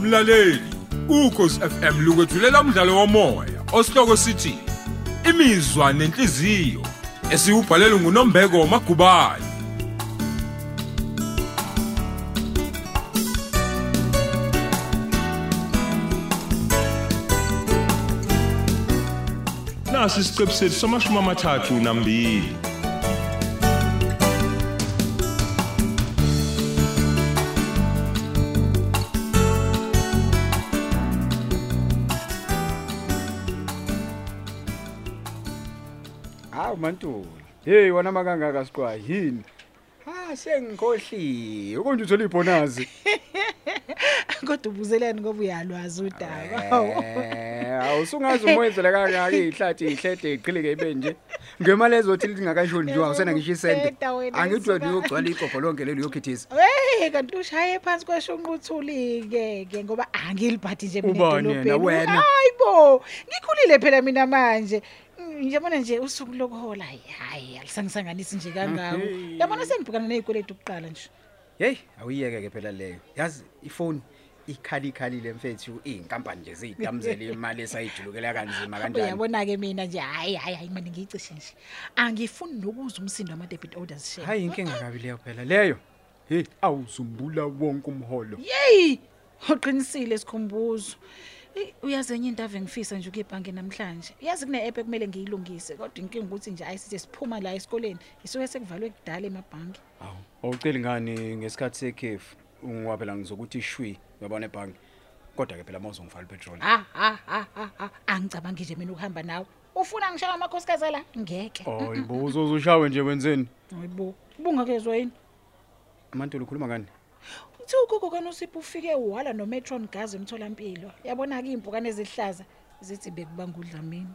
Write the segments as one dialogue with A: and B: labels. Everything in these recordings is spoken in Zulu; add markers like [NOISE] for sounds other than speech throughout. A: mlaleli ukhosi FM lukwethulela umdlalo womoya osihloko sithi imizwa nenhliziyo esiyubhalelwe nguNombeko Magubane
B: nasi isiqebu sethu samashumi amathathu nambili
C: hawu mantula hey wona makangaka siqwayi yini ha sengikhohliwe konje uthola ibhonazi
D: [LAUGHS] kodwa ubuzelani ngoba uyalwazi udaba
C: Eh, awusungazi umoyenzela kangaka ihlathi ihlede iqhileke ibe nje ngemali ezothi lingakashoni nje awusena ngisho isente
D: Bheda wena
C: angithi wena
D: isuka.
C: uyogcwala iqogo lonke lelo uyokhithisa
D: hey kanti ushaye phansi kweshunquthuli-ke ke ngoba angilibhathi nje mina
C: Ubani yena,
D: edolobheni.
C: wena?
D: hayi bo ngikhulile phela mina manje Mm, njabona nje usuku lokuhola hayi alisangisanganisi nje kangako yabona sengibhekana ney'kweletu kuqala nje
C: heyi awuyiyeke ke phela leyo yazi ifoni ikhalikhalile mfethu iy'nkampani nje ziyidamzele imali esayijulukela kanzima kanjani
D: uyabona-ke mina nje hayi hayi hayi mane ngiyicishe nje angifuni nokuza umsindo wama-debit orders shele
C: hayi inkinga kabi leyo phela leyo heyi awuzumbula wonke umholo
D: yeyi uqinisile sikhumbuzo Eyi, uyazi enye into ave ngifisa nje ukuyibhange namhlanje uyazi kune-app ekumele ngiyilungise kodwa inkinga ukuthi nje ayi sithe siphuma la esikoleni isuke sekuvalwe kudala emabhange
C: Awu, awuceli ngani ngesikhathi sekhefu ungiwa phela ngizokuthi shwi yabona ebhange. Kodwa ke phela mawuzongifala petrol.
D: ha ha ha ha ha angicabangi nje mina ukuhamba nawe ufuna ngishaye amakhosikazi ala ngeke
C: Hayi bo uzozushawe nje wenzeni?
D: ayibo ubungakezwa yini
C: Amantulu ukhuluma ngani?
D: uthi ugogo kanosipho ufike wala nometron gas emtholampilo yabona-ke iy'mpukane ezihlaza zithi bekubanga udlamini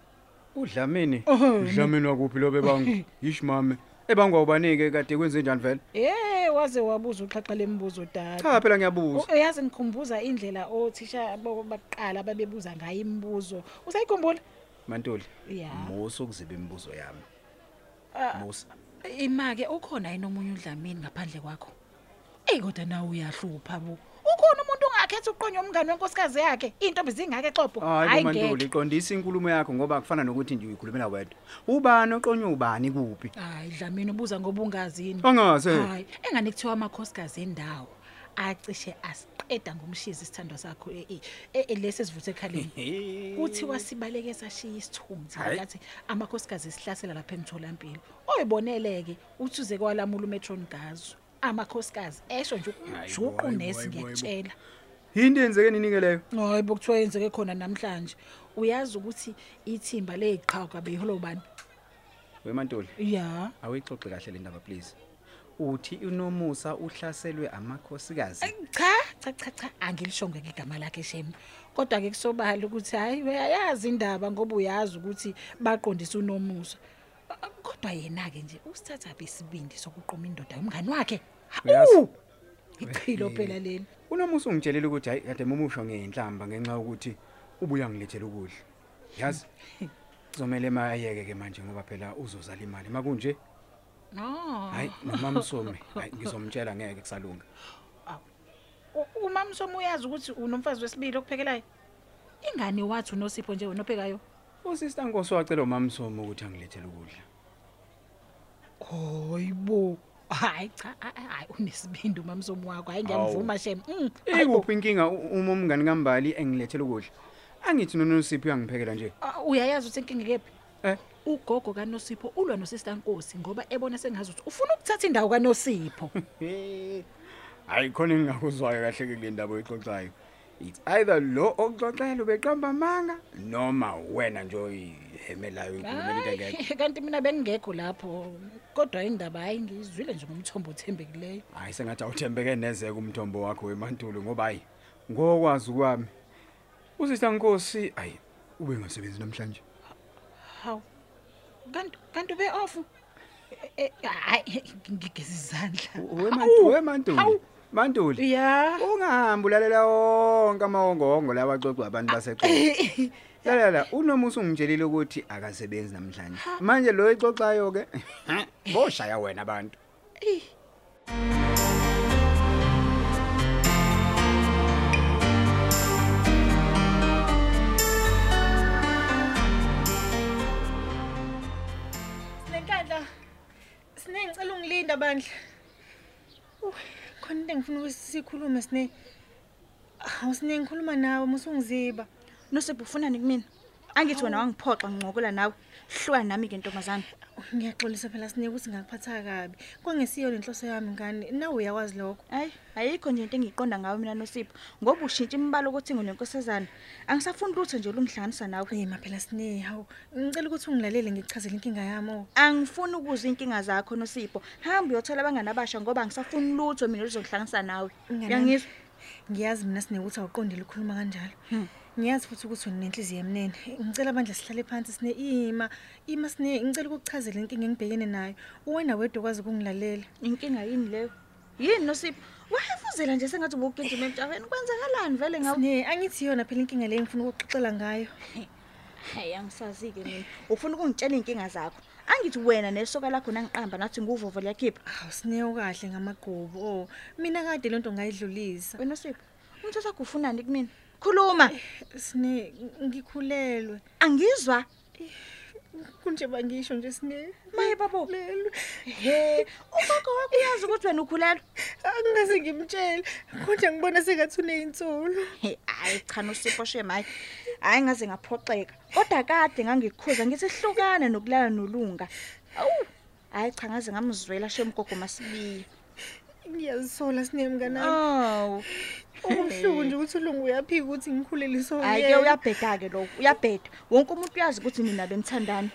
C: Udlamini? Udlamini wakuphi lo [LAUGHS] bebangu? Yish mame. Ebangwa ubanike kade kwenze njani vele?
D: ye waze wabuza uxhaxa lembuzo dada
C: Cha phela ngiyabuza.
D: U- uyazi ngikhumbuza indlela othisha bo- bakuqala babebuza ngayo imibuzo usayikhumbula
C: Mantuli.
D: ya
C: Musa ukuziba imibuzo yami. Musa.
D: Ah, ima-ke ukhona yini omunye udlamini ngaphandle kwakho eyi kodwa nawe uyahlupha bo ukhona umuntu ongakhetha uqonye umngane wenkosikazi yakhe iy'ntombi zingake xobho
C: Hayi
D: ngeke.
C: mantuli iqondisa inkulumo yakho ngoba kufana nokuthi nje uyikhulumela wedwa. Ubani oqonywa ubani kuphi?
D: hayi dlamini ubuza ngoba ungazini
C: Angaze.
D: hayi engane kuthiwa amakhosikazi endawo acishe asiqeda ngomshizi isithandwa sakho e- e- e- e- lesi esivuthe ekhaleni
C: Eh.
D: kuthiwa sibaleke sashiya isithunzi
C: Hhayi.
D: ngathi amakhosikazi sihlasela lapha emtholampilo oyibonele-ke uthuze kwalamula umetron gazo amakhosikazi esho nje ukujuqu
C: hayi bo,
D: nesi
C: hayi bo, hayi bo.
D: ngiyakutshela
C: Yini enzeke ninike leyo?
D: hayi bokuthiwa yenzeke khona namhlanje uyazi ukuthi ithimba leyiqhawuka beyiholo bani
C: Wemantuli.
D: ya
C: awuyixoxe kahle le ndaba please uthi unomusa uhlaselwe amakhosikazi
D: cha cha cha cha angilishonge ngegama lakhe shema kodwa-ke kusobala ukuthi hhayi uyayazi indaba ngoba uyazi ukuthi baqondise unomusa Ah, kodwa yena-ke nje usithathaphi isibindi sokuqoma indoda yomngani wakhe
C: Uyazi-
D: u iqhilo phela leli
C: unomusa ungitshelile ukuthi hayi kade mumusho ngenhlamba ngenxa yokuthi ubuya ngilethela ukudla
D: [LAUGHS]
C: yazi kuzomele mayeke ke manje ngoba phela uzozala imali makunje
D: no
C: hayi
D: [LAUGHS]
C: nomamsomi hayi ngizomtshela ngeke kusalunga
D: umamsomi uyazi ukuthi unomfazi wesibili okuphekelayo ingane wathi unosipho nje wena ophekayo
C: usista nkosi wacela umamsomi ukuthi angilethele ukudla
D: hoyibo hayi cha a- a- hayi unesibindi umamsomi wakho hayi
C: Hawu.
D: ngiyamvuma shema Mm, hayi bo.
C: ikuphi inkinga u- uma umngani kambali engilethele ukudla angithi nonosiphi uyangiphekela nje
D: Ah, uyayazi ukuthi inkinga kephi
C: Eh?
D: ugogo kanosipho ulwa nosista nkosi ngoba ebona sengazi ukuthi ufuna ukuthatha indawo kanosipho
C: [LAUGHS] Eh, hayi khona engingakuzwayo kahle ke kule ndaba oyixoxayo it's either lo okuxoxela ubeqamba amanga noma wena nje oyihemelayo inkulumo
D: Hhayi,
C: engekho
D: kanti mina bengingekho lapho kodwa indaba hayi ngizwile nje ngomthombo othembekileyo
C: hayi sengathi awuthembeke nezeke umthombo wakho wemantulu ngoba hayi ngokwazi kwami usista nkosi hayi ube ngasebenzi namhlanje
D: hawu kanti kanti ube off Eh, hayi ngigeza izandla
C: U- weMantu-
D: Hawu,
C: wemantuli
D: hawu.
C: mantuli
D: ya
C: ungahambi ulalela wonke amawongowongo lawa axoxwa abantu baseqo Lalela unomusa ungitshelile ukuthi akasebenzi namhlanje. Manje lo exoxayo ke [LAUGHS] boshaya wena abantu.
E: kabandla Uh, khona into engifuna ukuthi sikhulume sine hawu sine ngikhuluma nawe musungiziba
F: nosipho ufunani kumina angithi wena wangiphoxa ngincokola nawe hlwa nami-ke ntombazane
E: ngiyaxolisa phela sine ukuthi ngakuphatha kabi kwangesiyo lenhloso yami ngane nawe uyakwazi lokho
F: hayi ayikho nje into engiyiqonda ngawe mina nosipho ngoba ushintsha imibala ukuthi ngunenkosazana angisafuni lutho nje olungihlanganisa nawe
E: Hey maphela sine hawu ngicela ukuthi ungilalele ngikuchazele inkinga yami oh.
F: angifuni ukuzwa iy'nkinga zakho nosipho hambe uyothola abangani abasha ngoba angisafuni lutho mina luzongihlanganisa nawe
E: Mngani wami,
F: yangizwa
E: Ngiyazi mina sine ukuthi awuqondile ukukhuluma kanjalo. Ngiyazi futhi ukuthi unenhliziyo emnene. Ngicela abandla sihlale phansi sine ima, ima sine ngicela ukuchazela inkinga engibhekene nayo. Uwena wedwa okwazi ukungilalela.
F: inkinga yini leyo yini nosipho wayefuzela nje sengathi ubugijima emtshaveni kwenzakalani vele ngawe
E: Ne, angithi yona phela inkinga leyo ngifuna ukuxoxela ngayo.
F: hayi angisazi-ke mina ufuna ukungitshela iy'nkinga zakho angithi wena nesoka lakho nangiqamba nathi nguvovo liyakhipha
E: Hawu sine ukahle ngamagqubu. Oh, mina kade lento ngayidlulisa.
F: wena usipho umthetho wakho ufunani kumina khuluma
E: Eh, Sine ngikhulelwe.
F: angizwa
E: Kunje bangisho nje sine.
F: maye babo he ugogo wakho uyazi ukuthi wena ukhulelwa
E: Angikaze ngimtshele. Kunje ngibona sengathune insolo.
F: He, hayi cha nosipho shem hayi hayi ngaze ngaphoxeka kodwa kade ngangikhuza ngithi hlukana nokulala nolunga awu hayi cha ngaze ngamzwela shem gogo masibiya
E: Ngiyazisola sine mnganami.
F: awu
E: Umhluku nje ukuthi ulungu uyaphika ukuthi ngikhuleliswe
F: hayi-ke uyabheda-ke lokho uyabheda wonke umuntu uyazi ukuthi nina bemthandani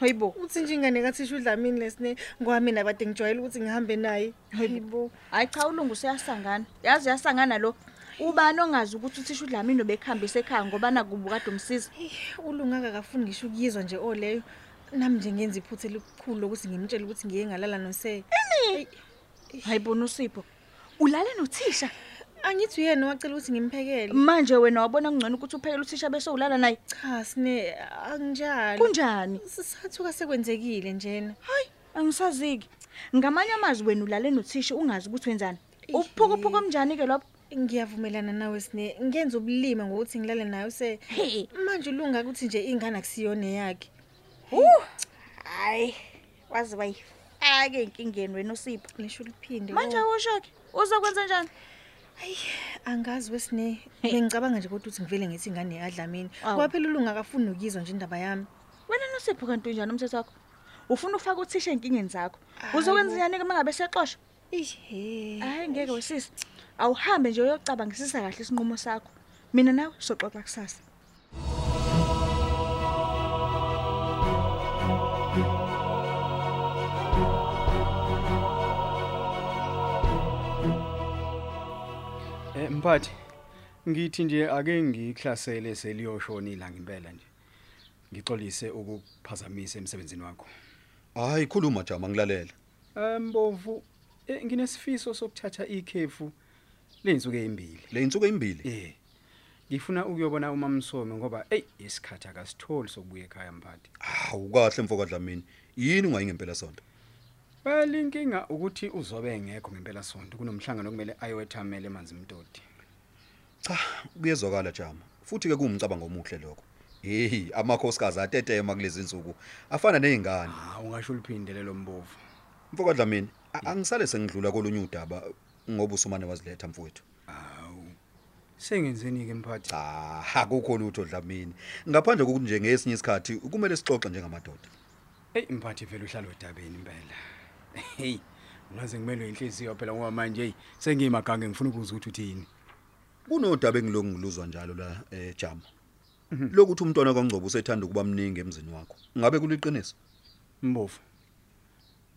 F: hoyibo
E: uthi nje ingane kathisha udlamini lesine ngoba mina bade ngijwayele ukuthi ngihambe naye hayibo
F: hayi cha ulungu useyasangana yazi uyasangana lo ubani ongazi ukuthi uthisha udlamini obekuhambisa ekhaya ngoba nakuba kade umsiza
E: ulungaka kafuni ngisho ukuyizwa nje oleyo nami nje ngenza iphutha elikhulu lokuthi ngimtshele ukuthi ngiye ngalala nose
F: hayi bona usipho ulale nothisha
E: angithi uyena wacela ukuthi ngimphekele
F: manje wena wabona kungcono ukuthi uphekele uthisha bese ulala naye
E: cha sine anginjalo
F: kunjani
E: sathuka sekwenzekile njena
F: hayi angisazi-ke ngamanye amazwi wena ulale nothisha ungazi ukuthi wenzani ubuphukuphuku omnjani-ke lapho
E: ngiyavumelana nawe sine ngenza ubulima ngokuthi ngilale naye use
F: He.
E: manje ulungaka ukuthi nje ingane akusiyona yakhe
F: hayi wazi bayifake enkingeni wena usipho
E: lisho liphinde
F: manje
E: oh.
F: awusho-ke uzokwenza njani
E: angazi wesine bengicabanga nje kodwa ukuthi ngivele ngithi ingane yadlamini
F: Awu.
E: kwaphela ulunga akafuni nokuyizwa nje indaba yami
F: wena nosipho kanti unjani umthetho wakho ufuna ukufaka uthisha enkingeni zakho
E: Hayi bo. Eh.
F: uzokwenzenjani-ke uma ngabe sexosha
E: ihe
F: hayi ngeke wesisi awuhambe nje uyocabangisisa kahle isinqumo sakho mina nawe soxoxa kusasa
C: Eh mphathi ngithi nje ake ngiklasele seliyoshona ilanga impela nje. Ngixolise ukuphazamisa emsebenzini wakho.
G: hayi khuluma jama ngilalele
C: Embovu eh, nginesifiso sokuthatha ikhefu lenzuke ezimbili.
G: le insuku ezimbili
C: Eh. Ngifuna ukuyobona uMamsome ngoba hey isikhatha kasitholi sokubuya ekhaya mphathi.
G: hawu kahle mfoka dlamini yini ungayi ngempela sonto
C: Well inkinga ukuthi uzobe ngekho ngempela sonto kunomhlangano okumele ayowethamela emanzi imtoti.
G: cha kuyezwakala jama futhi ke kuwumcabango omuhle lokho heyi amakhosikazi atetema kulezi insuku afana nezingane
C: Ah ungasho uliphindele lo mbovu.
G: mfoka dlamini a- angisale sengidlula kolunye udaba ngoba usumane waziletha mfowethu
C: Hawu. Sengenzeni ke mphathi?
G: cha akukho lutho dlamini ngaphandle kokuthi nje ngesinye isikhathi kumele sixoxe njengamadoda
C: Hey mphathi vele uhlala odabeni impela. Hey ngaze ngimelwe inhliziyo phela ngoba manje hey sengiyimagange ngifuna ukuzwa ukuthi uthini.
G: kunodaba engilokhu ngiluzwa njalo la eh, jama lokuthi umntwana kaNgcobo usethanda ukuba mningi emzini wakho ngabe kuliqiniso
C: Mbovu.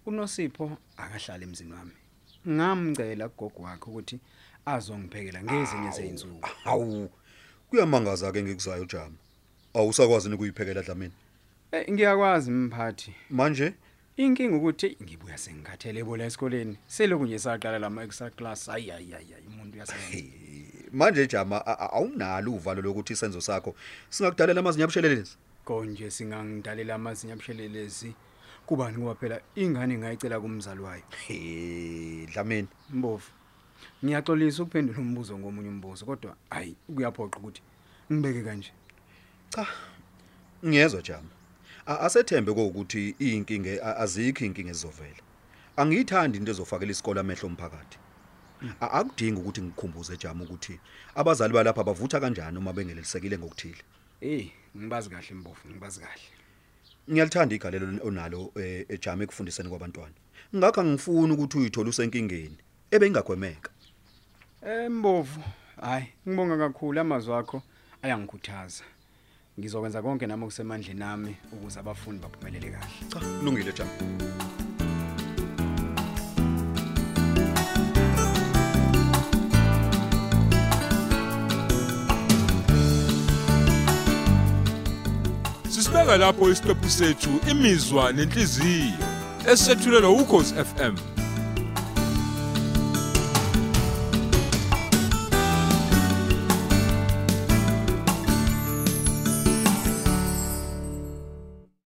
C: UNosipho akahlala emzini wami. Ngamcela kugogo wakhe ukuthi azongiphekela ngezinye zeinzuku.
G: hawu kuyamangaza ke ngikuzayo jama awusakwazi ukuyiphekela dlamini
C: Hey ngiyakwazi mphathi.
G: manje
C: Inkinga ukuthi ngibuya sengikhathele ebola esikoleni. Seloku nje saqala lama extra class ayi ayi ayi ayi, umuntu
G: eh,
C: uyasebenza.
G: manje jama a- a- awunalo uvalo lokuthi isenzo sakho singakudalela amazinyo abushelelezi
C: Konje singangidalela amazinyo abushelelezi. Kubani ngoba phela ingane ngayicela kumzali wayo.
G: he dlamini
C: Mbovu. Ngiyaxolisa ukuphendula umbuzo ngomunye umbuzo kodwa hayi kuyaphoqa ukuthi ngibeke kanje.
G: cha ngiyezwa jama A- asethembe kokuthi iyinkinge a- azikho inkinge ezovela angiyithandi into ezofakela isikole amehlo omphakathi A- akudingi ukuthi ngikhumbuze jama ukuthi abazali balapha bavutha kanjani uma bengelelisekile ngokuthile
C: eyi ngibazi kahle mbofu ngibazi kahle
G: ngiyalithanda igalelo onalo eh, ejama ekufundiseni kwabantwana ngakho angifuni ukuthi uyithole usenkingeni ebeyingagwemeka
C: embovu hayi ngibonga kakhulu amazwi akho ayangikhuthaza ngizokwenza konke nami okusemandleni ami ukuze abafundi baphumelele kahle
G: cha kulungile jama
A: Sisibeka lapho isiqephu sethu imizwa nenhliziyo esethulelwa ukhozi FM